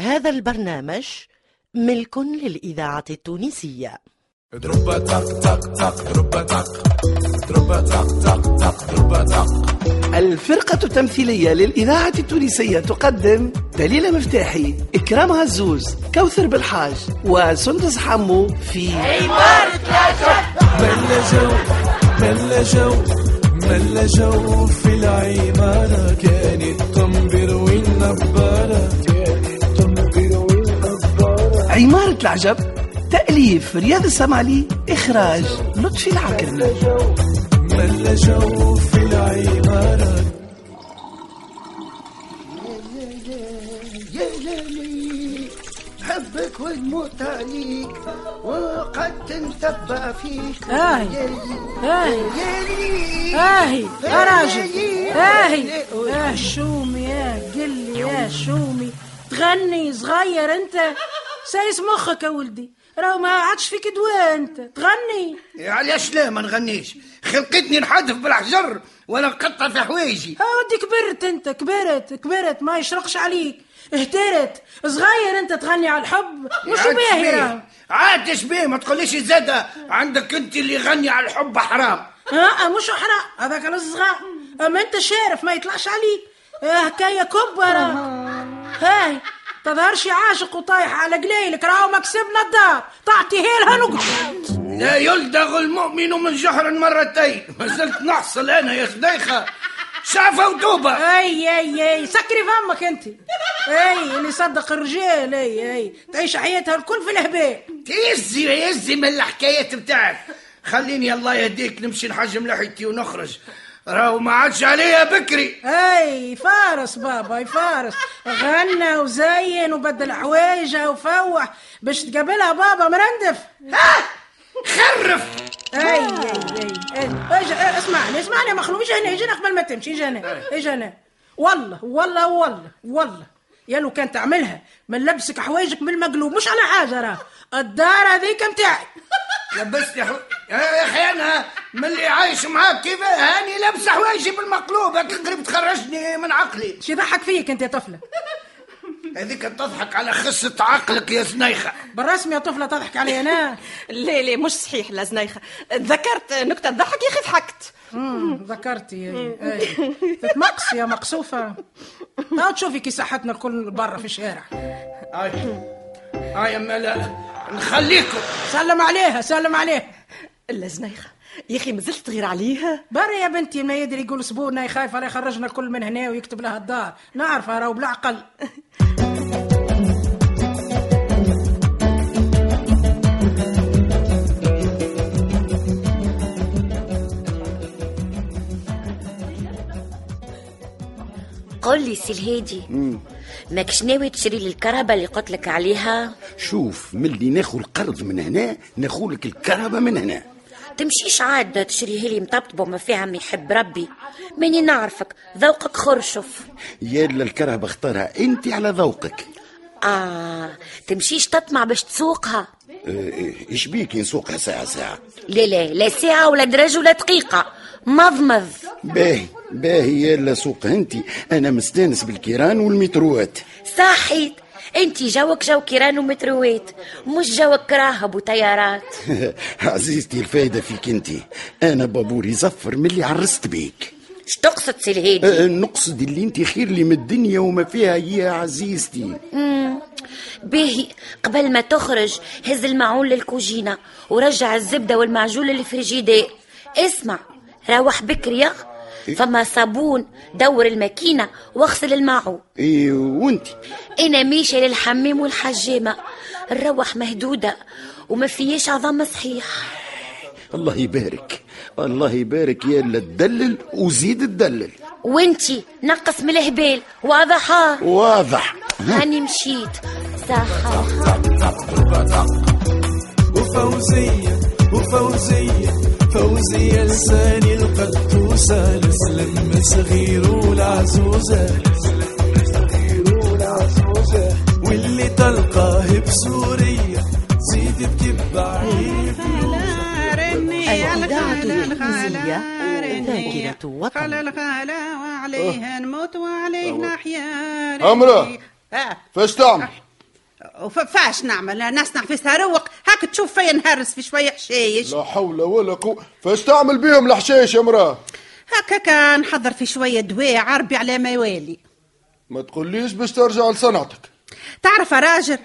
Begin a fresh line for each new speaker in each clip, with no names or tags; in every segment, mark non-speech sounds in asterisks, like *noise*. هذا البرنامج ملك للإذاعة التونسية
دروبا تق تق تق دروبا تق دروبا تق تق تق دروبا تق
الفرقة التمثيلية للإذاعة التونسية تقدم دليلة مفتاحي إكرام عزوز كوثر بالحاج وسندس حمو في
ملا جو ملا جو ملا جو في العمارة كانت تنبر والنبارة كانت تنبر والنبارة
عمارة العجب تأليف رياض السمعلي إخراج لطفي العكرمي
ملا جو في العمارة
يا ليلي حبك ونموت عليك وقد تنتبع فيك
آي.
يا ليلي.
آي.
يا ليلي.
اهي يا راجل اهي
آه.
يا شومي آه، يا قلي يا شومي تغني صغير انت سايس مخك يا ولدي راه ما عادش فيك دواء انت تغني
علاش لا ما نغنيش خلقتني نحدف بالحجر ولا نقطع في حوايجي
ها آه، ودي كبرت انت كبرت كبرت ما يشرقش عليك اهترت صغير انت تغني على الحب مش
عاد
باهي
شبيه.
راه.
عاد شبيه ما تقوليش زادة عندك انت اللي يغني على الحب حرام
ها أه، مش حرام هذاك الصغار اما انت شارف ما يطلعش عليك آه، هكايا كبرة هاي تظهرش عاشق وطايح على قليلك راهو مكسبنا الدار تعطي هيلها نقطة
لا يلدغ المؤمن من جحر مرتين ما زلت نحصل انا يا شديخه شعفه ودوبه
اي اي اي سكري فمك انت اي اللي صدق الرجال اي اي تعيش حياتها الكل في الهباء
يزي يزي من الحكايات بتاعك خليني الله يهديك نمشي نحجم لحيتي ونخرج راهو ما عادش عليا بكري
اي فارس بابا اي فارس غنى وزين وبدل حوايجه وفوح باش تقابلها بابا مرندف
ها خرف
اي
آه.
اي اي اي إج- إيه، اسمعني اسمعني يا مخلوق اجي هنا اجي هنا قبل ما تمشي اجي هنا
إيه.
اجي هنا والله والله والله والله يا لو كان تعملها من لبسك حوايجك من المقلوب مش على حاجه راه الدار هذيك متاعي
لبستني حو... يا اخي انا من اللي عايش معاك كيف هاني لابس حوايجي بالمقلوب هاك قريب تخرجني من عقلي
شي ضحك فيك انت يا طفله
هذيك تضحك على خصة عقلك يا زنيخة
بالرسم يا طفله تضحك علي انا
*laughs* لا لا مش صحيح لا زنيخة تذكرت نكتة ضحك يا أخي ضحكت
مم، ذكرتي أي، أي. تتمقص يا
*laughs*
مقصوفه هاو تشوفي كي صحتنا الكل برا في الشارع
هاي هاي ملا نخليكم
سلم عليها سلم عليها
لا زنيخة يا أخي مازلت غير عليها
برا يا بنتي ما يدري يقول سبونا يخاف على يخرجنا الكل من هنا ويكتب لها الدار نعرفها راهو بالعقل
قل لي سي الهادي ماكش ناوي تشري لي الكرهبة اللي قلت لك عليها
شوف ملي ناخذ القرض من هنا ناخذلك الكهرباء من هنا
تمشيش عاد تشريها لي مطبطبة ما فيها ما يحب ربي ماني نعرفك ذوقك خرشف
يا لا الكهرباء اختارها انت على ذوقك
آه تمشيش تطمع باش تسوقها
آه، آه، ايش بيك نسوقها ساعه ساعه
لا لا لا ساعة ولا درج ولا دقيقة مضمض
باهي باهي يا لا سوق انت انا مستانس بالكيران والمتروات
صحيت انت جوك جو كيران ومتروات مش جوك كراهب وطيارات
*laughs* عزيزتي الفايده فيك انت انا بابوري زفر من اللي عرست بيك
اش تقصد سي الهادي
آه، نقصد اللي انت خير لي من الدنيا وما فيها يا عزيزتي
مم. باهي قبل ما تخرج هز المعول للكوجينة ورجع الزبدة والمعجون للفريجيدير اسمع روح بكري فما صابون دور الماكينة واغسل المعو
إيه وانت
انا ماشية للحمام والحجامة نروح مهدودة وما فيش عظام صحيح
الله يبارك الله يبارك يا لا تدلل وزيد تدلل
وانتي نقص من الهبال واضحة
واضح
هاني مشيت صحة
وفوزية وفوزية فوزية لساني القدوسة لسلم صغير والعزوزة واللي تلقاه بسوريا زيد بكبعير
الإذاعة التونسية ذاكرة وطن
أه.
الغلا وعليها نموت وعليه نحيا
أمرا. فاش تعمل
وفاش نعمل ناس نحفزها روق هاك تشوف فيا نهرس في شويه حشايش
لا حول ولا قوة فاش تعمل بيهم الحشايش يا مراه
هكاك نحضر في شويه دواء عربي على ما يوالي
ما تقوليش باش ترجع لصنعتك
تعرف يا راجل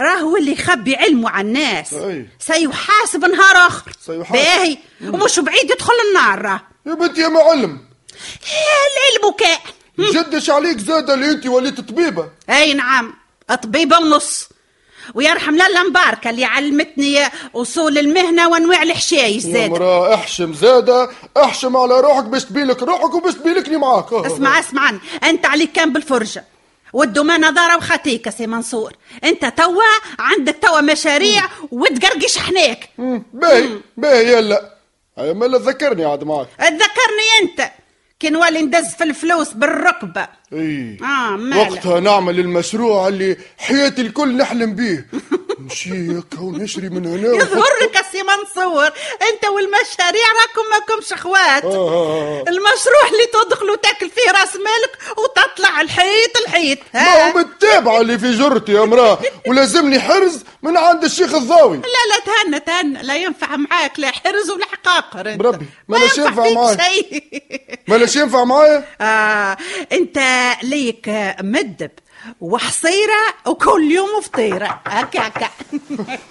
راهو اللي يخبي علمه على الناس
أي.
سيحاسب نهار اخر
سيحاسب.
باهي ومش بعيد يدخل النار راه إيه،
يا بنتي يا معلم
العلم كان
جدش عليك زاد اللي انت وليت طبيبة
اي نعم طبيبه ونص ويرحم لالا مباركه اللي علمتني اصول المهنه وانواع الحشايش
يا
زاد
مراه احشم زادة احشم على روحك باش تبيلك روحك وباش تبيلكني معاك
اسمع اسمعني انت عليك كان بالفرجه والدمى نظاره وخطيك يا سي منصور انت توا عندك توا مشاريع وتقرقش حناك
باهي باهي يلا هيا ملا ذكرني عاد معاك
تذكرني انت كي نولي ندز في الفلوس بالركبه
اي
اه مالا
وقتها نعمل المشروع اللي حياتي الكل نحلم بيه
*laughs*
نمشي هكا ونشري من هنا
يظهر لك يا سي منصور انت والمشاريع راكم ماكمش اخوات
آه.
المشروع اللي تدخل وتاكل فيه راس مالك وتطلع الحيط الحيط
ما هو بالتابعة اللي في جرتي يا مراه ولازمني حرز من عند الشيخ الضاوي
لا لا تهنى تهنى لا ينفع معاك لا حرز ولا حقاقر انت
بربي، ما لا
ينفع
شنفع
فيك
معاك.
شيء *laughs*
مالاش ينفع معايا
آه انت ليك مدب وحصيرة وكل يوم فطيرة هكا هكا *laughs*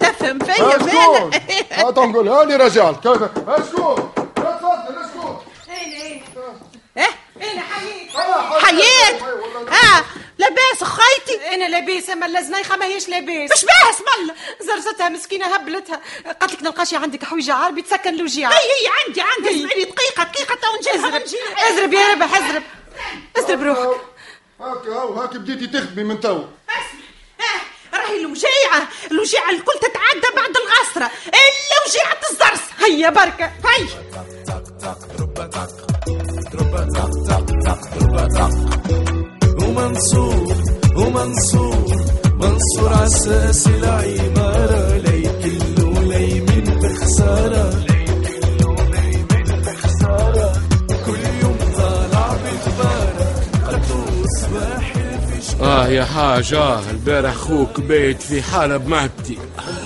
تفهم فيا
اسكت
مالا
هات نقول آه، هاني رجعت كذا اسكت لا تفضل اسكت
إيه؟
انا حييت
حييت اه لاباس خيتي
انا لاباس اما الزنيخه ماهيش لاباس
مش باهس ملا
زرزتها مسكينه هبلتها قالت لك نلقاشي عندك حويجه عربي تسكن الوجيعه
هي هي عندي عندي اسمعي دقيقة دقيقة تو نجيبها
اضرب
نجيبها.
اضرب يا ربح اضرب اضرب روحك
هاك هاو هاك بديتي تخدمي من تو
اسمع، آه، راهي الوجيعة الوجيعة الكل تتعدى بعد الغسرة إلا وجيعة الزرس هيا بركة هي
ومنصور ومنصور منصور عساس العمارة لي كله لي من بخسارة لي كله لي من بخسارة كل يوم طالع بتبارك قطو صباح الفجر
اه يا حاج اه البارح خوك بايت في حاله بمهبتي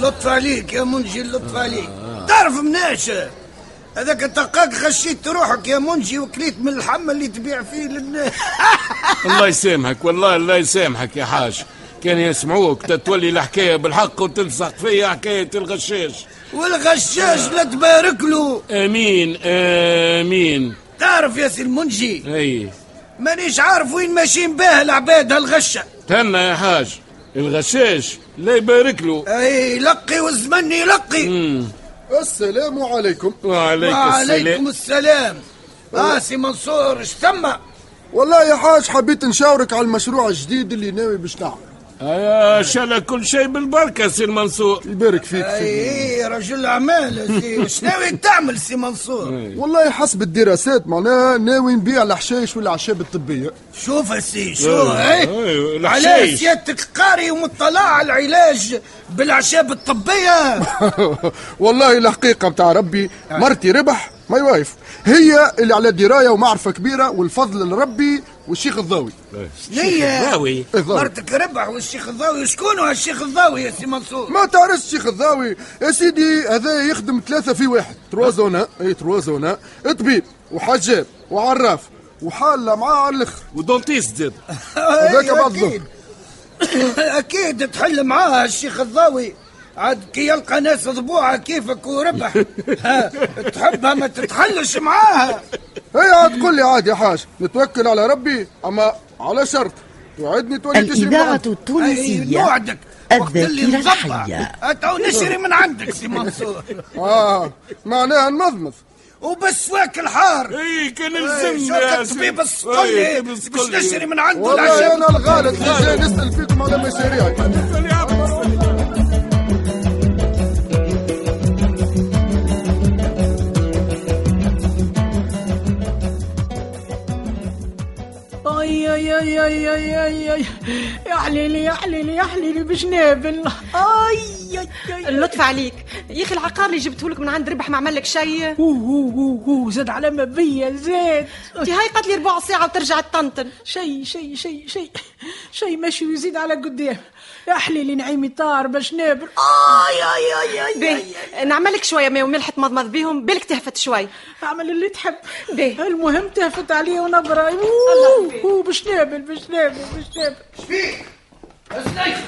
لطف عليك يا منجي لطف عليك تعرف مناش هذاك الدقاق خشيت روحك يا منجي وكليت من اللحم اللي تبيع فيه للناس
الله يسامحك والله الله يسامحك يا حاج كان يسمعوك تتولي الحكايه بالحق وتلصق فيا حكايه الغشاش
والغشاش لا تبارك له
امين امين
تعرف يا سي المنجي
اي
مانيش عارف وين ماشيين بها العباد هالغشه
تهنى يا حاج الغشاش لا يبارك له
اي لقي والزمن يلقي
السلام عليكم
وعليك السلام
وعليكم السلام اه سي منصور اش ثم
والله يا حاج حبيت نشاورك على المشروع الجديد اللي ناوي باش نعمله
آه، شال كل شيء بالبركه سي المنصور
يبارك فيك سيدي
اي رجل اعمال سي شناوي تعمل سي منصور
والله حسب الدراسات معناها ناوي نبيع الحشايش والاعشاب الطبيه
شوف يا سي شو
أي،
اي
أي، العشايش.
على سيادتك قاري ومطلع على العلاج بالاعشاب الطبيه
*laughs* *laughs* والله الحقيقه متاع ربي مرتي ربح ماي وايف هي اللي على درايه ومعرفه كبيره والفضل لربي والشيخ الضاوي
نية
غاوي
الضاوي.
مرتك ربح والشيخ الضاوي شكون هو الشيخ الضاوي يا سي منصور
ما تعرفش الشيخ الضاوي يا سيدي هذا يخدم ثلاثه في واحد تروا زونا اي تروا زونا طبيب وحجاب وعراف وحاله معاه على الاخر
ودونتيست زاد
هذاك
أي،
بعد الظهر
أكيد. اكيد تحل معاه الشيخ الضاوي عاد كي يلقى ناس ضبوعه كيفك وربح ها، تحبها ما تتحلش معاها
هي عاد قول لي عاد يا حاج نتوكل على ربي اما على شرط توعدني تولي تشري من
الإذاعة
عندي.
أي،
التونسية
نوعدك وقت اللي
الذاكرة
نضبع.
الحية
تو نشري من عندك سي منصور
اه معناها نمضمض
وبسواك الحار
اي كان
شو
يلزمني يا سي-
الطبيب
أي،
الصقلي باش
بالصقلي.
نشري من عنده
والله
العشاء
انا الغالط اللي جاي نسال فيكم على مشاريعي
أي أي أي أي أي أي أي يا حليلي يا حليلي يا حليلي باش نابل
اي أي- أي- اللطف عليك يا اخي العقار اللي جبته لك من عند ربح ما عمل لك شيء
اوه زاد على ما بيا زاد
انت هاي قتلي ربع ساعه وترجع تطنطن
شيء شيء شيء شيء شيء ماشي ويزيد على قدام يا حليلي نعيمي طار باش نابل اي اي اي اي
باهي نعمل لك شويه ماء وملح تمضمض بيهم بالك تهفت شوي
اعمل اللي تحب باهي المهم تهفت عليا ونبره اوه أوه، باش نابل باش نابل باش نابل
شبيك الزنيخة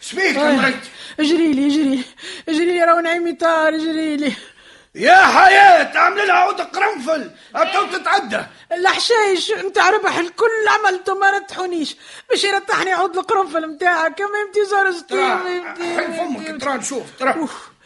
شبيك
آه.
مريت
اجري لي اجري لي اجري لي راهو نعيمي طار اجري لي
يا حياة عامل لها عود قرنفل تو تتعدى
الحشايش نتاع ربح الكل عملته ما رتحونيش باش يرتحني عود القرنفل نتاعها كما يمتي زهر
ترى حل فمك ترى نشوف ترى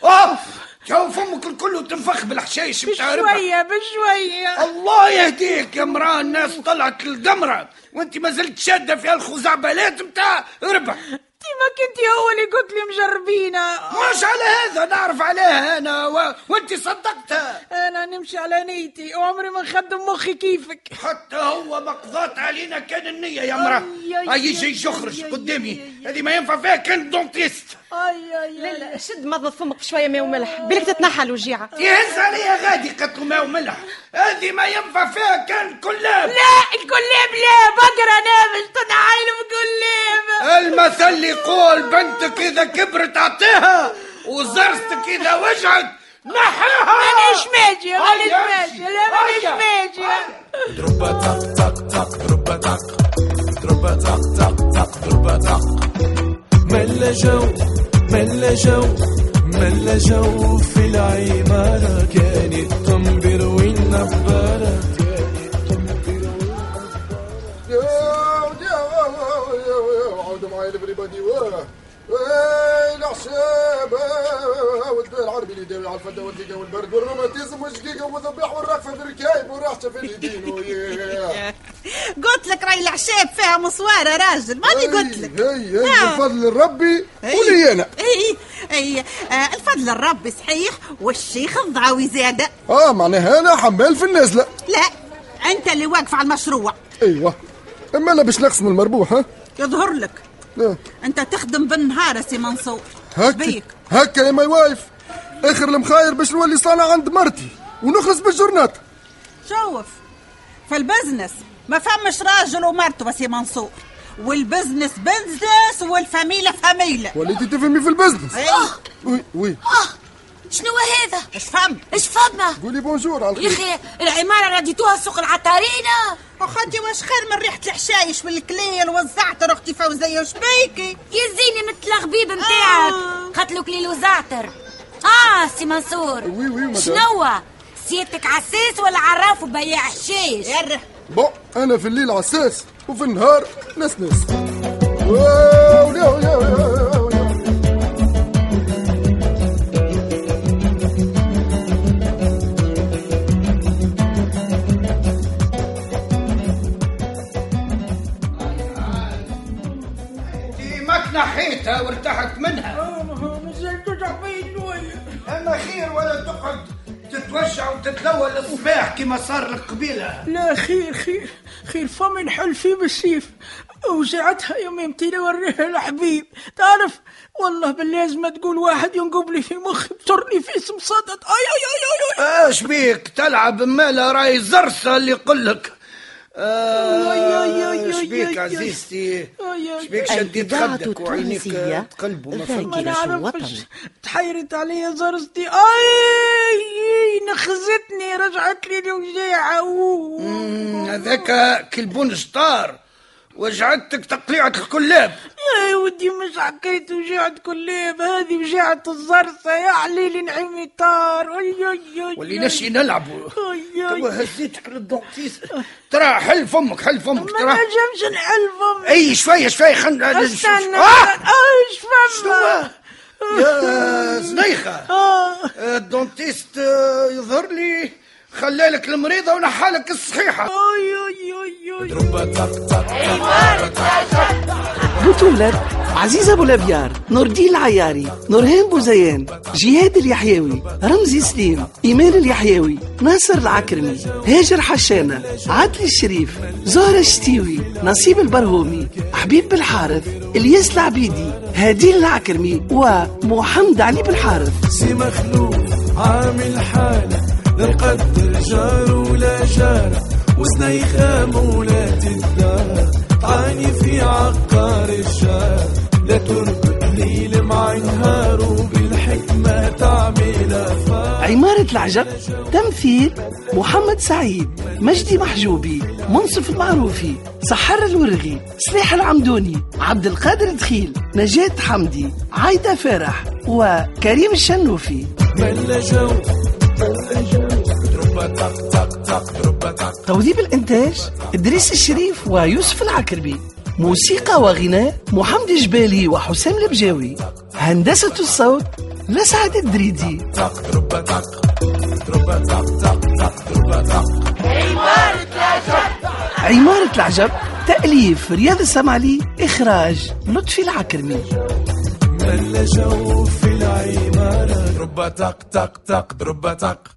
اوف تو فمك الكل وتنفخ بالحشيش بتاع ربع
بشوية بشوية
الله يهديك يا مراه الناس طلعت للقمرة وانت ما زلت شادة في هالخزعبلات متاع ربح
ديما كنت هو اللي قلت لي مجربينا
مش على هذا نعرف عليها انا و... وانت صدقتها
انا نمشي على نيتي وعمري ما نخدم مخي كيفك
حتى هو مقضات علينا كان النية يا مراه
أي- أي-
هاي جاي
أي-
يخرج
أي-
قدامي هذه ما ينفع فيها كان دونتيست
اي اي
لا لا شد مضمض فمك بشويه ماء وملح بالك تتنحى الوجيعه
يهز عليها غادي قتلوا ماء وملح هذه ما ينفع فيها كان كلاب
لا الكلاب لا بقرة نابل تنعيل بكلاب
المثل يقول بنتك اذا كبرت اعطيها وزرستك اذا وجعت نحيها
مانيش ماجية مانيش ماجية لا مانيش ماجية
ملا جو ملا جو ملا جو في العمارة كان التنبر والنبارة
عاودوا معايا البريبادي واه واه العشاب آه، والدواء العربي اللي يداوي على الفده والدقه والبرد والروماتيزم والشقيقه والذبيح والرقفه في الركايب والرحشه في اليدين وياه.
قلت لك راي العشاب فيها مصوارة راجل ماني قلت لك
هي هي
آه.
من فضل ربي ولي انا
اي اي آه الفضل الرب صحيح والشيخ الضاوي زادة
اه معناها انا حمال في النازله
لا انت اللي واقف على المشروع
ايوه اما انا باش نقسم المربوح ها
يظهر لك
لا.
انت تخدم بالنهار يا سي منصور
هكا هكا يا ماي وايف اخر المخاير باش نولي صانع عند مرتي ونخلص بالجرنات
شوف في البزنس ما فمش راجل ومرته يا سي منصور والبزنس بزنس والفاميلة فاميلة
وليتي تفهمي في البزنس
آه.
وي وي
آه، شنو هذا؟
اش فم؟
اش فما؟
قولي بونجور على
يا
الخير
اخي العماره رديتوها سوق العطارينا
اخدي واش خير من ريحه الحشايش والكليل والزعتر اختي فوزيه وشبيكي
يا زيني مثل الغبيب نتاعك قتلوك ليل وزعتر اه سي منصور
وي وي مدام.
شنو سيادتك عساس ولا عراف وبياع حشيش
بون انا في الليل عساس وفي النهار ناس ناس واو، لا، لا، لا، لا.
انت ما تنحيتها وارتحت منها اما خير ولا تقعد تتوجع وتتلوى للصباح كما صار لك قبيله
لا خير خير خير فمي نحل فيه بالسيف وجعتها يوم يمتي وريها الحبيب تعرف والله باللازمة تقول واحد ينقب لي في مخي بترني في اسم صدد اي اي اي اي, أي.
اش بيك تلعب مالا راي زرسه اللي يقلك آه، اش بيك عزيزتي اش بيك شديت
الإذاعة
خدك وعينيك
التونسية
تقلبوا ما
ذاكرة
فهمتش.
الوطن
تحيرت عليا زرستي اي نخزتني رجعت لي الوجيعة
مم، هذاك كلبون شطار وجعتك تقليعة الكلاب
يا ودي مش حكيت وجعت كليب هذه وجعة الزرسة يا عليلي نعيمي طار أي أي أي
وليناش نلعبوا
أي أي.
توا هزيتك للدونتيس ترى حل فمك حل فمك
ما
ترى
نجمش نحلفهم
اي شويه شويه خلنا
استنى
آه!
ايش فما
يا زنيخة الدونتيست آه، يظهر لي خلالك المريضة ونحالك الصحيحة
اي اي اي
تك تك
بطولة عزيزة أبو الأبيار نور الدين العياري نورهان بوزيان جهاد اليحيوي رمزي سليم إيمان اليحيوي ناصر العكرمي هاجر حشانة عدلي الشريف زهرة الشتيوي نصيب البرهومي حبيب بالحارث الياس العبيدي هادين العكرمي ومحمد علي بالحارث
سي مخلوف عامل حالة للقدر جار ولا جارة وسني خامولات الدار تعاني في عقار الشار لا تربط ليل مع نهار وبالحكمة تعمل أفكار
عمارة العجب تمثيل محمد سعيد مجدي محجوبي منصف المعروفي سحر الورغي سلاح العمدوني عبد القادر دخيل نجاة حمدي عايدة فرح وكريم الشنوفي
ملا جو ملا جو تربة تق تق تق تربة تق
توظيف الإنتاج إدريس الشريف ويوسف العكربي موسيقى وغناء محمد جبالي وحسام البجاوي هندسة الصوت لسعد الدريدي
تربة تق تربة تق تق تق تربة تق
عمارة العجب تأليف رياض السمعلي إخراج لطفي العكرمي
ملا جو في العمارة تربة تق تق تق تربة تق